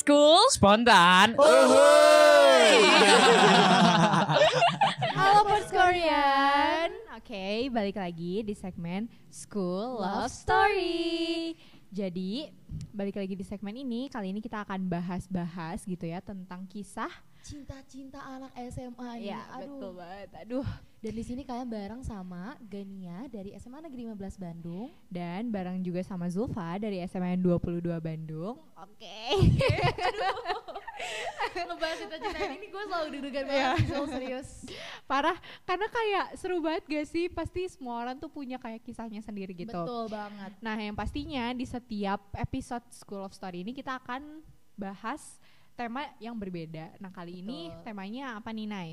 school. Spontan. Halo Pers Korean. Oke, balik lagi di segmen School Love Story. Jadi, balik lagi di segmen ini, kali ini kita akan bahas-bahas gitu ya tentang kisah Cinta-cinta anak SMA ini. ya, betul Aduh. banget. Aduh. Dan di sini kalian bareng sama Gania dari SMA Negeri 15 Bandung. Dan bareng juga sama Zulfa dari SMN 22 Bandung. Ngebahas cinta-cinta ini gue selalu deg-degan banget, Zul, serius. Parah, karena kayak seru banget gak sih? Pasti semua orang tuh punya kayak kisahnya sendiri gitu. Betul banget. Nah, yang pastinya di setiap episode School of Story ini kita akan bahas tema yang berbeda. Nah, kali ini Betul. temanya apa nih, Nay?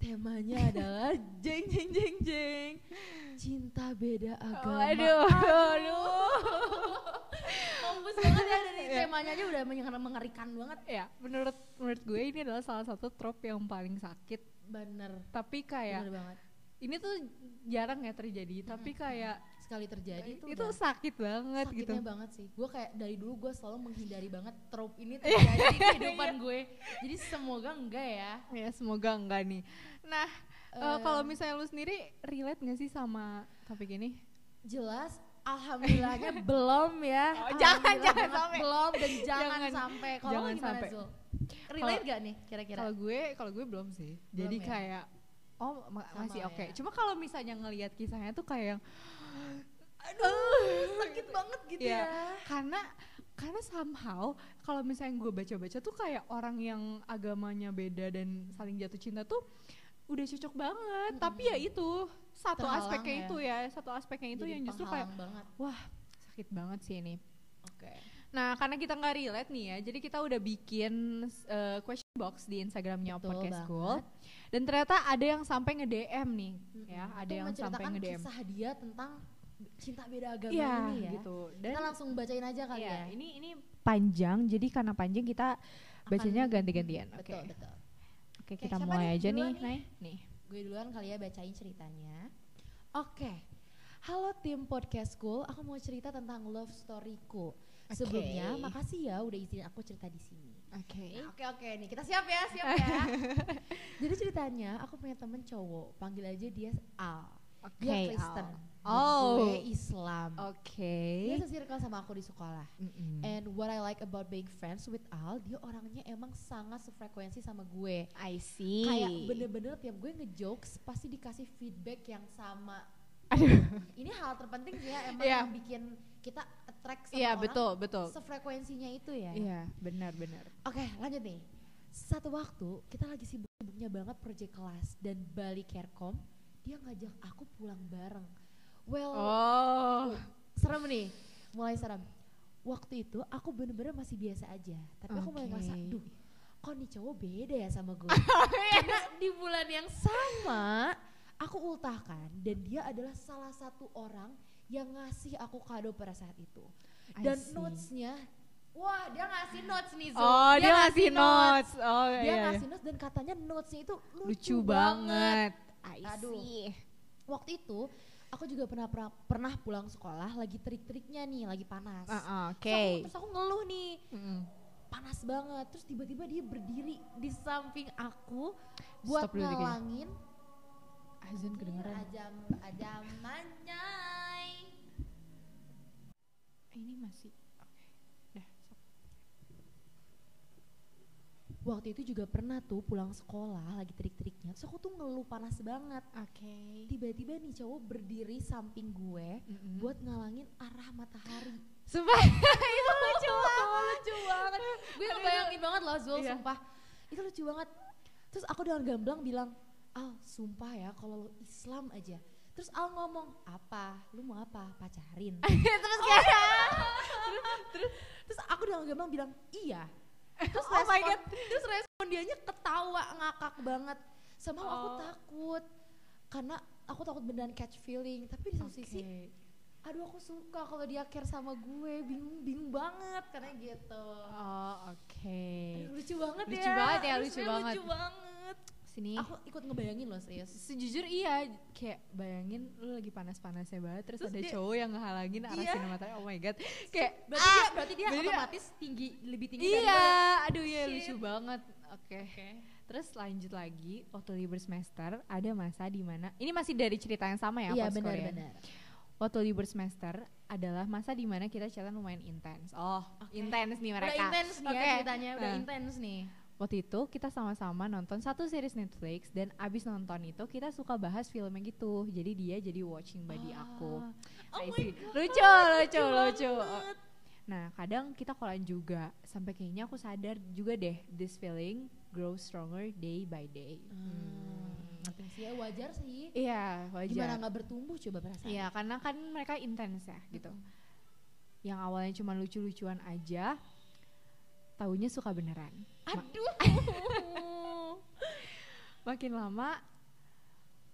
Temanya adalah jeng jeng jeng jeng cinta beda agama. Waduh, Mampus banget ya dari temanya aja udah menyengar- mengerikan banget. ya, menurut menurut gue ini adalah salah satu trope yang paling sakit, Bener, tapi kayak bener banget. ini tuh jarang ya terjadi, tapi kayak Sekali terjadi itu, tuh udah sakit banget gitu. sakitnya banget sih. Gue kayak dari dulu gue selalu menghindari banget trope Iya. ini terjadi di kehidupan gue. Jadi semoga enggak ya. Ya, semoga enggak nih. Nah, eh, Eh, kalau misalnya lu sendiri relate gak sih sama topik ini? Jelas alhamdulillahnya belum ya. Oh, jangan, Alhamdulillah jangan banget sampai. belum dan jangan, Jangan, sampai. Kalau jangan lu gimana sampai. Zul? Relate Kalau- gak nih kira-kira? Kalau gue, kalau gue belum sih. Belum Jadi ya? kayak oh ma- Sama masih oke. ya. Cuma kalau misalnya ngelihat kisahnya tuh kayak Aduh, sakit banget gitu ya, ya. karena karena somehow kalau misalnya gue baca-baca tuh kayak orang yang agamanya beda dan saling jatuh cinta tuh udah cocok banget. Tapi ya itu satu Terhalang aspeknya ya. itu ya, satu aspeknya itu Jadi yang justru kayak penghalang banget. wah sakit banget sih ini. Oke. Nah, karena kita nggak relate nih ya, jadi kita udah bikin eh, question box di Instagramnya Betul Podcast banget. School. Dan ternyata ada yang sampai nge DM nih, ya, Mm-mm. ada Itu kan yang sampai menceritakan nge DM. kisah dia tentang cinta beda agama Iya, ini ya. gitu. Dan Kita langsung bacain aja kali iya, ya. ini ini panjang, jadi karena panjang kita bacanya Akan- ganti-gantian. Oke, Betul, betul. oke Oke, kita siapa mulai nih aja nih, duluan nih? Nay. Nih. Gue duluan kali ya bacain ceritanya. Oke. Halo tim podcast school, aku mau cerita tentang love storyku. Sebelumnya Oke. makasih ya udah izin aku cerita di sini. Oke. Nah, Oke oke nih kita siap ya siap ya. Jadi ceritanya aku punya temen cowok panggil aja dia Al. Dia Kristen. dan Oh. Gue Islam. Oke. Dia sesirkel sama aku di sekolah. Mm-mm. And what I like about being friends with Al, dia orangnya emang sangat sefrekuensi sama gue. I see. Kayak bener-bener tiap gue ngejokes pasti dikasih feedback yang sama. Aduh. Ini hal terpenting sih ya emang Iya. yang bikin kita attract sama Iya, orang betul, betul. sefrekuensinya itu ya. Iya, benar, benar. Oke, lanjut nih. Satu waktu kita lagi sibuk-sibuknya banget proyek kelas dan Bali Carecom, dia ngajak aku pulang bareng. Well, Oh. serem nih mulai serem waktu itu aku bener-bener masih biasa aja tapi aku mulai Oke. ngerasa Oh, iya. duh kok nih cowok beda ya sama gue karena di bulan yang sama aku ultahkan dan dia adalah salah satu orang yang ngasih aku kado pada saat itu I dan see. notesnya wah dia ngasih notes nih Zul Oh, dia, ngasih notes. Oh, dia iya, iya. ngasih notes dan katanya notesnya itu lucu, lucu banget. banget I Aduh. waktu itu aku juga pernah pernah, pernah pulang sekolah lagi terik-teriknya nih lagi panas Ah, Oke. Terus aku- terus aku ngeluh nih panas banget terus tiba-tiba dia berdiri di samping aku buat Stop dulu dikit. ngalangin Azan kedengeran. ajam ajam manjai Ah, Ini masih. waktu itu juga pernah tuh pulang sekolah lagi terik-teriknya terus aku tuh ngeluh panas banget Oke. tiba-tiba nih cowok berdiri samping gue buat ngalangin arah matahari Sumpah itu lucu Oh, banget. lucu banget gue Aduh, ngebayangin banget loh Zul Iya. sumpah itu lucu banget terus aku dengan gamblang bilang Al sumpah ya kalau lo Islam aja terus Al ngomong apa lu mau apa pacarin Terus kayak terus aku dengan gamblang bilang iya terus Oh my respon- God. terus respon dianya ketawa ngakak banget sama aku Oh. takut karena aku takut beneran catch feeling tapi di satu sisi aduh aku suka kalau dia care sama gue bingung bingung banget karena gitu Oh, oke. Aduh, lucu banget Lucu ya banget ya, Aduh, lucu sebenarnya banget. lucu banget Si sini. Aku ikut ngebayangin loh serius. Oh, Sejujur iya, kayak bayangin lu lagi panas-panasnya banget terus, Terus ada dia- cowok yang ngehalangin arah Iya. sinar matanya. Oh my god. Kayak Berarti ah, dia, berarti dia berarti dia- otomatis tinggi lebih tinggi Iya, dari aduh ya Shit. lucu banget. Oke. Terus lanjut lagi waktu libur semester ada masa di mana ini masih dari cerita yang sama ya Iya Pops Korean. benar-benar. Waktu libur semester adalah masa di mana kita chatan lumayan intens. Oh, Oke. intens nih mereka. Iya Udah intens nih ya Oke. ceritanya, udah Nah. intens nih. Waktu itu kita sama-sama nonton satu series Netflix dan abis nonton itu kita suka bahas filmnya gitu. Jadi dia jadi watching buddy Ah. aku. Oh I my see. God, Lucu, lucu, lucu lucu. banget. Nah, kadang kita kolan juga sampai kayaknya aku sadar juga deh this feeling grow stronger day by day. Hmm. Hmm. Sih ya wajar sih. Iya, Gimana wajar. nggak bertumbuh coba perasaan. Iya, karena kan mereka intens ya gitu. Hmm. Yang awalnya cuma lucu-lucuan aja, tahunya suka beneran. Ma- Aduh. Oh. makin lama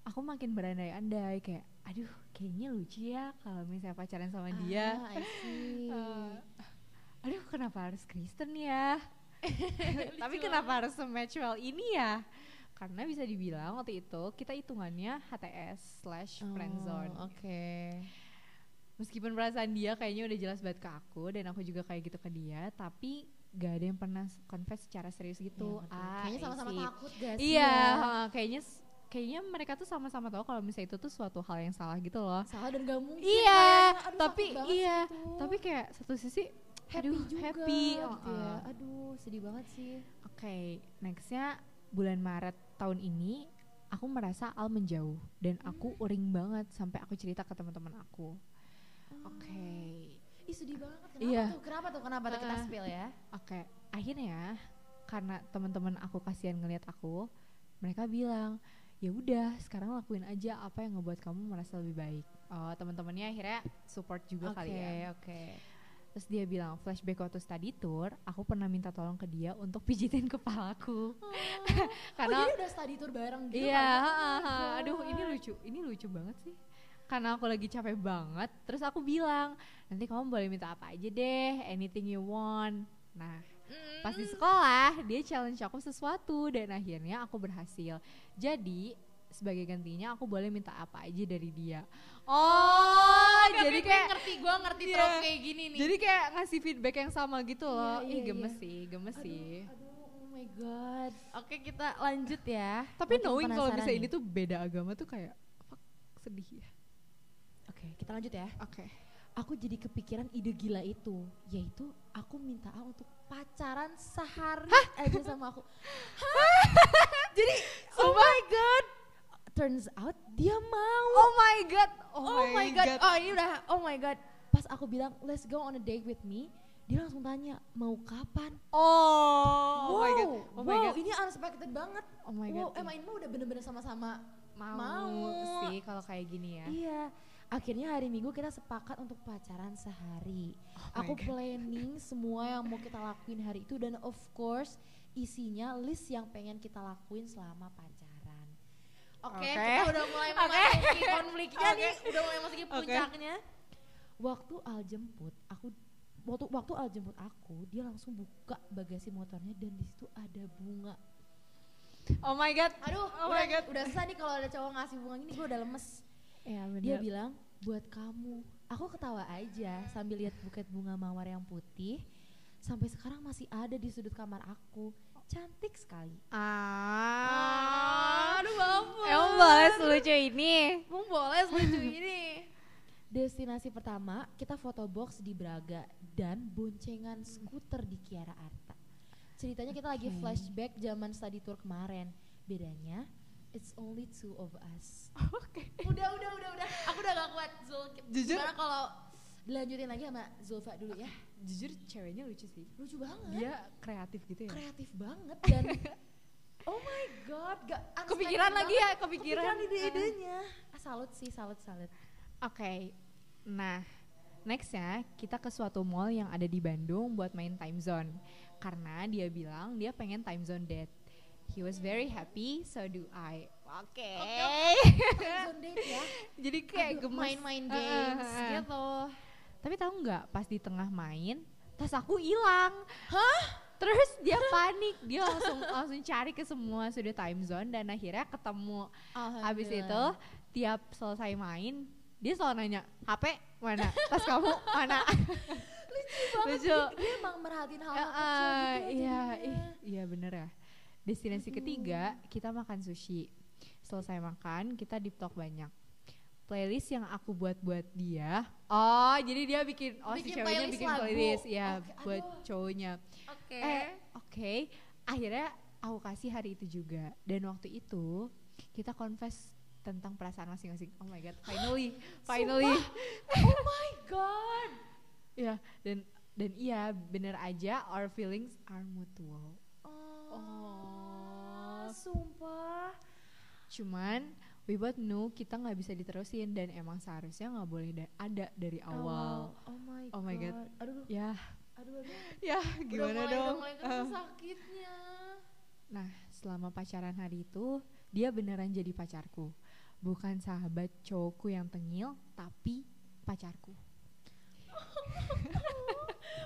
aku makin berandai-andai kayak aduh kayaknya lucu ya kalau misalnya pacaran sama dia Ah, I see. Eh, aduh kenapa harus Kristen ya tapi kenapa harus match well ini ya karena bisa dibilang waktu itu kita hitungannya HTS slash Oh, friendzone Oke. Iya, meskipun perasaan dia kayaknya udah jelas banget ke aku dan aku juga kayak gitu ke dia tapi gak ada yang pernah confess secara serius gitu Iya, betul. Ah, Kayaknya I sama-sama see. takut gak sih? Iya, ya? heeh, kayaknya s- kayaknya mereka tuh sama-sama tahu kalau misalnya itu tuh suatu hal yang salah gitu loh. Salah dan gak mungkin. Iya, kan. Aduh, tapi sakit banget gitu. iya, sih itu. tapi kayak satu sisi Oh. happy aduh, juga happy. gitu ya. heeh. Aduh, sedih banget sih. Oke, nextnya bulan Maret tahun ini aku merasa Al menjauh dan aku Hmm. uring banget sampai aku cerita ke teman-teman aku. Oh. Oke. Ih, sedih banget. Kenapa Iya. tuh? Kenapa tuh? Kenapa tuh? Kita Ah. spill ya. Oke, akhirnya ya, karena teman-teman aku kasihan ngelihat aku, mereka bilang, "Ya udah, sekarang lakuin aja apa yang ngebuat kamu merasa lebih baik." Oh, teman-temannya akhirnya support juga kali ya. oke. Terus dia bilang, "Flashback waktu study tour, aku pernah minta tolong ke dia untuk pijitin kepalaku." Karena Karena Oh, jadi udah study tour bareng gitu. Iya, kan? ha, ha, God. ha. aduh ini lucu, ini lucu banget sih. Karena aku lagi capek banget, terus aku bilang, nanti kamu boleh minta apa aja deh, anything you want. Nah, Mm. pas di sekolah dia challenge aku sesuatu dan akhirnya aku berhasil. Jadi sebagai gantinya aku boleh minta apa aja dari dia. Oh, jadi kayak ngerti, gue ngerti Iya. trope kayak gini nih. jadi kayak ngasih feedback yang sama gitu Iya, loh. iya, Ih gemes iya. sih, gemes sih. Aduh, oh my god. Oke, kita lanjut ya. Tapi Makin knowing kalau penasaran bisa ini nih. tuh beda agama tuh kayak fuck, sedih ya. Oke, kita lanjut ya. Oke. Aku jadi kepikiran ide gila itu, yaitu aku minta Al untuk pacaran sehari aja sama aku. Jadi Oh my god. Turns out dia mau. Oh my god. Oh, Oh, my god. Oh ini udah. Oh my god. Pas aku bilang let's go on a date with me, dia langsung tanya mau kapan. Oh, oh my god. Oh wow, my god. ini unexpected banget. Oh my god. wow, emang ini mah udah bener-bener sama-sama. mau, mau. sih kalau kayak gini ya. Iya. Akhirnya hari Minggu kita sepakat untuk pacaran sehari. Oh my aku God. planning semua yang mau kita lakuin hari itu dan of course isinya list yang pengen kita lakuin selama pacaran. Oke, Oke. kita udah mulai Oke. memasuki konfliknya Oke. nih, udah mulai memasuki Oke. puncaknya. Waktu Al jemput, aku waktu waktu Al jemput aku, dia langsung buka bagasi motornya dan di situ ada bunga. Oh my god. Aduh, Oh udah, my god. udah susah nih kalau ada cowok ngasih bunga gini, gue udah lemes. Ya Dia bilang buat kamu. Aku ketawa aja sambil lihat buket bunga mawar yang putih. Sampai sekarang masih ada di sudut kamar aku. Cantik sekali. Ah. Aduh, ampun. Emang boleh selucu ini? Emang boleh lucu ini. Destinasi pertama, kita foto box di Braga dan boncengan skuter di Kiara Arta. Ceritanya kita lagi Oke. flashback zaman study tour kemarin. Bedanya, it's only two of us. Oke. udah, udah, udah, udah. Aku udah gak kuat, Zul. Jujur- Gimana kalau dilanjutin lagi sama Zulfa dulu ya? Jujur ceweknya lucu sih. Lucu banget. Dia kreatif gitu ya. Kreatif banget dan Oh my god, gak Kepikiran unexpected lagi ya, banget. kepikiran. ide-idenya. Ah, salut sih, salut, salut. Oke. Nah, next ya, kita ke suatu mall yang ada di Bandung buat main time zone. Karena dia bilang dia pengen time zone date. He was very happy, so do I. Eh. Oke. Zone date ya. Jadi kayak Aduh, gemes. main-main Eh, eh, games eh, eh. gitu. Tapi tahu nggak pas di tengah main, tas aku hilang. Hah? Terus dia panik, dia langsung langsung cari ke semua sudut time zone dan akhirnya ketemu. Habis itu tiap selesai main dia selalu nanya HP mana, tas kamu mana. lucu lucu. banget dia, dia emang merhatiin hal Eh, hal kecil eh, gitu ya Iya, ih, jadinya. iya bener ya. Destinasi ketiga kita makan sushi. Selesai makan kita deep talk banyak. Playlist yang aku buat buat dia. Oh, jadi dia bikin oh si Bikin ceweknya playlist bikin lagu. playlist ya Oke, buat aduh. cowoknya. Oke. Eh, Oh oke. Akhirnya aku kasih hari itu juga. Dan waktu itu kita confess tentang perasaan masing-masing. Oh my god, finally, finally. oh my god Ya, dan dan iya bener aja our feelings are mutual. oh, Oh. sumpah Cuman we both know kita nggak bisa diterusin dan emang seharusnya nggak boleh da- ada dari awal. oh my god Oh my god. aduh Ya, aduh aduh ya udah gimana mulai, dong? udah mulai Eh. kerasa sakitnya Nah, selama pacaran hari itu dia beneran jadi pacarku. Bukan sahabat cowokku yang tengil, tapi pacarku.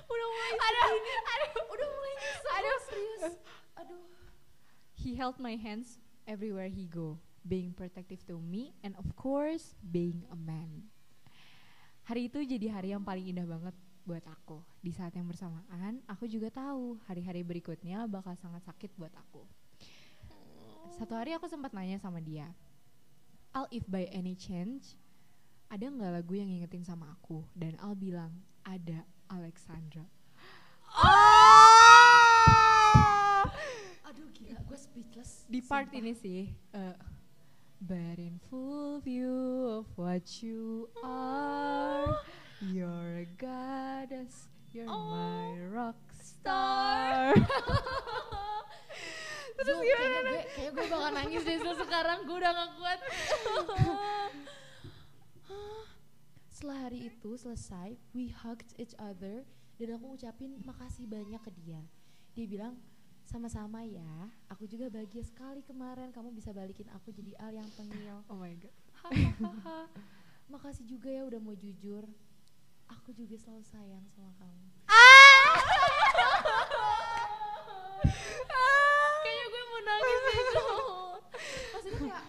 udah mulai aduh aduh udah mulai nyesel aduh serius aduh He held my hands everywhere he go, being protective to me and of course being a man. Hari itu jadi hari yang paling indah banget buat aku. Di saat yang bersamaan, aku juga tahu hari-hari berikutnya bakal sangat sakit buat aku. Satu hari aku sempat nanya sama dia, Al if by any chance, ada nggak lagu yang ngingetin sama aku? Dan Al bilang, ada Alexandra. aduh gila gue speechless Ah! di part sumpah. ini sih eh, But in full view of what you are You're a goddess You're Oh, my rock star Terus kayaknya gue, kayaknya gue bakal nangis deh Zul, sekarang gue udah gak kuat Setelah hari itu selesai, we hugged each other dan aku ucapin makasih banyak ke dia. Dia bilang, sama-sama ya, aku juga bahagia sekali kemarin kamu bisa balikin aku jadi al yang tengil. Oh my god Hahaha. makasih juga ya udah mau jujur. Aku juga selalu sayang sama kamu. Kayaknya gue mau nangis itu. maksudnya kayak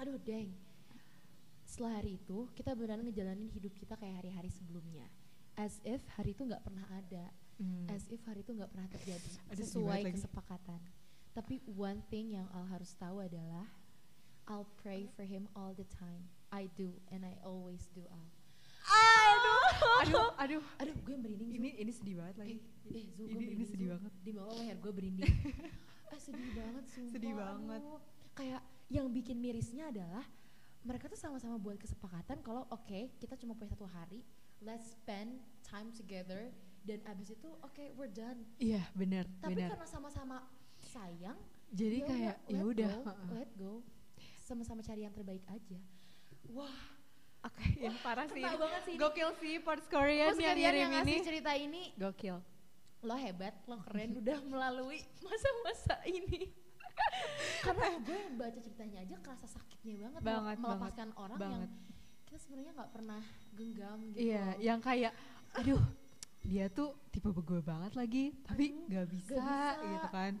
aduh deng setelah hari itu kita beneran ngejalanin hidup kita kayak hari-hari sebelumnya as if hari itu nggak pernah ada Hmm. as if hari itu nggak pernah terjadi Aduh, sedih banget sesuai lagi. kesepakatan tapi one thing yang Al harus tahu adalah I'll pray for him all the time I do and I always do Al Aduh, aduh aduh gue merinding Zul. Ini ini sedih banget lagi Eh, ya? Ini, Zul, gue ini merinding, sedih Zul. banget Di bawah leher gue berinding. ah, sedih banget sumpah. Sedih banget. aduh. Kayak yang bikin mirisnya adalah mereka tuh sama-sama buat kesepakatan kalau oke, kita cuma punya satu hari, let's spend time together dan abis itu oke, we're done. Iya bener, Tapi bener karena sama-sama sayang, Jadi ya kayak ya udah let go, heeh. let go. Sama-sama cari yang terbaik aja. Wah, Oke, ya, parah sih kena ini. banget sih ini. Gokil sih parts Korean Terus yang kalian oh, yang ngirim ini ngasih cerita ini Gokil lo hebat, lo keren udah melalui masa-masa ini. Karena gue baca ceritanya aja kerasa sakitnya banget, mel- Banget, melepaskan orang Banget yang kita sebenarnya nggak pernah genggam gitu. Iya, loh. yang kayak aduh dia tuh tipe gue banget lagi, tapi Aduh, nggak bisa, bisa. gitu kan.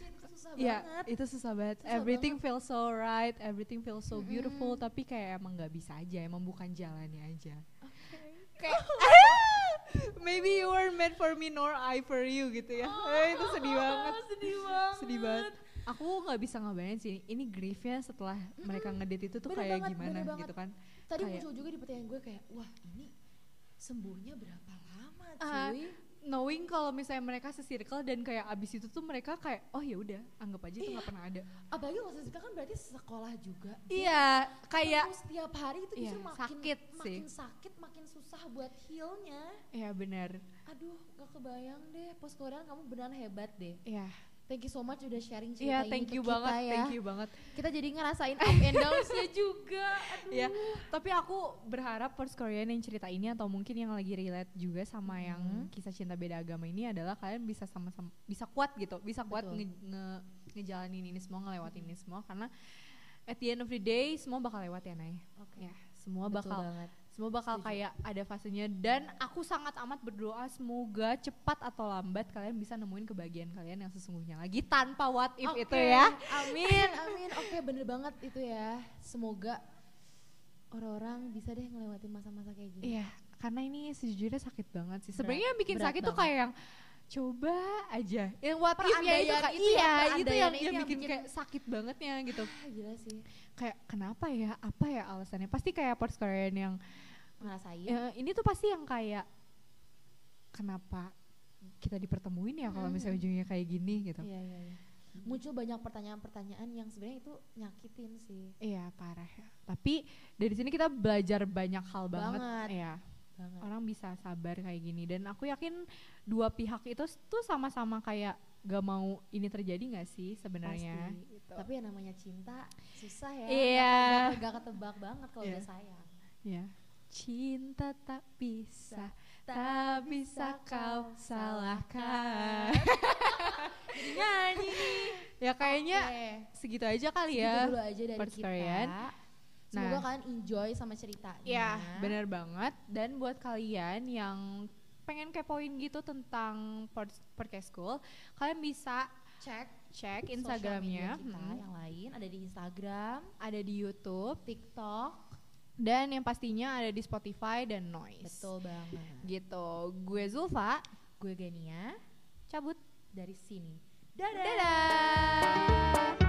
Shit, itu susah Iya, banget. itu susah banget. Susah everything feels so right, everything feels so beautiful, Mm-mm. tapi kayak emang nggak bisa aja, emang bukan jalannya aja. Maybe you were meant for me nor I for you gitu ya. Eh, itu sedih banget. Oh, sedih banget. Sedih banget. Aku nggak bisa ngabarin sih. Ini griefnya setelah mereka ngedate itu tuh Bener kayak banget, gimana bener banget. gitu kan. Tadi Kayak- muncul juga di pertanyaan gue kayak, wah ini sembuhnya berapa lama Ah, cuy? knowing kalau misalnya mereka se-circle dan kayak abis itu tuh mereka kayak oh ya udah anggap aja Iya. itu nggak pernah ada Apalagi kalau saya cerita kan berarti sekolah juga. iya kayak Terus tiap hari itu Iya, bisa makin sakit sih. makin sakit, makin susah buat healnya. ya benar Aduh, gak kebayang deh. Pos Korea kamu beneran hebat deh. ya Thank you so much udah sharing cerita iya ini thank ke you kita banget ya. thank you banget Kita jadi ngerasain up and downs-nya juga. Aduh. ya tapi aku berharap first Korean yang cerita ini atau mungkin yang lagi relate juga sama yang Mhm. kisah cinta beda agama ini adalah kalian bisa sama-sama bisa kuat gitu bisa kuat Betul. nge- nge- ngejalanin ini semua ngelewatin ini semua karena at the end of the day semua bakal lewat ya Nay Oke. ya semua Betul bakal banget. Semua bakal Setuju. kayak ada fasenya dan aku sangat amat berdoa semoga cepat atau lambat kalian bisa nemuin kebahagiaan kalian yang sesungguhnya lagi tanpa what if itu Oke, ya. Amin, amin. Oke, bener banget itu ya. Semoga orang-orang bisa deh ngelewatin masa-masa kayak gini. Iya, karena ini sejujurnya sakit banget sih. Sebenarnya yang bikin berat sakit tuh banget. kayak yang coba aja. Yang what if-nya Perandaian itu kayak itu ya, iya, itu yang, perandaian itu yang yang bikin, bikin- kayak sakit bangetnya gitu. Ah, gila sih. Kayak kenapa ya? Apa ya alasannya? Pasti kayak Pers Korean yang Ngerasain. ya, ini tuh pasti yang kayak kenapa kita dipertemuin ya kalau misalnya Mhm. ujungnya kayak gini gitu. Iya, iya, iya. Muncul banyak pertanyaan-pertanyaan yang sebenarnya itu nyakitin sih. Iya, parah ya. Tapi dari sini kita belajar banyak hal banget. Banget. Iya. Banget. orang bisa sabar kayak gini dan aku yakin dua pihak itu s- tuh sama-sama kayak gak mau ini terjadi nggak sih sebenarnya Pasti. gitu. Tapi yang namanya cinta susah ya. Iya. Gak, gak, gak ketebak banget kalau Iya. udah sayang. ya cinta tak bisa tak bisa kau salahkan Nyanyi. ya kayaknya Oke. segitu aja kali Gitu ya dulu aja dari Pers kita. Korean. Semoga Nah. kalian enjoy sama ceritanya. Ya, benar banget. Dan buat kalian yang pengen kepoin gitu tentang pod- podcast school, kalian bisa Cek cek social media Instagramnya, kita hmm, yang lain ada di Instagram, ada di YouTube, TikTok. dan yang pastinya ada di Spotify dan Noise. Betul banget. Gitu. Gue Zulfa Gue Gania cabut. dari sini. Dadah.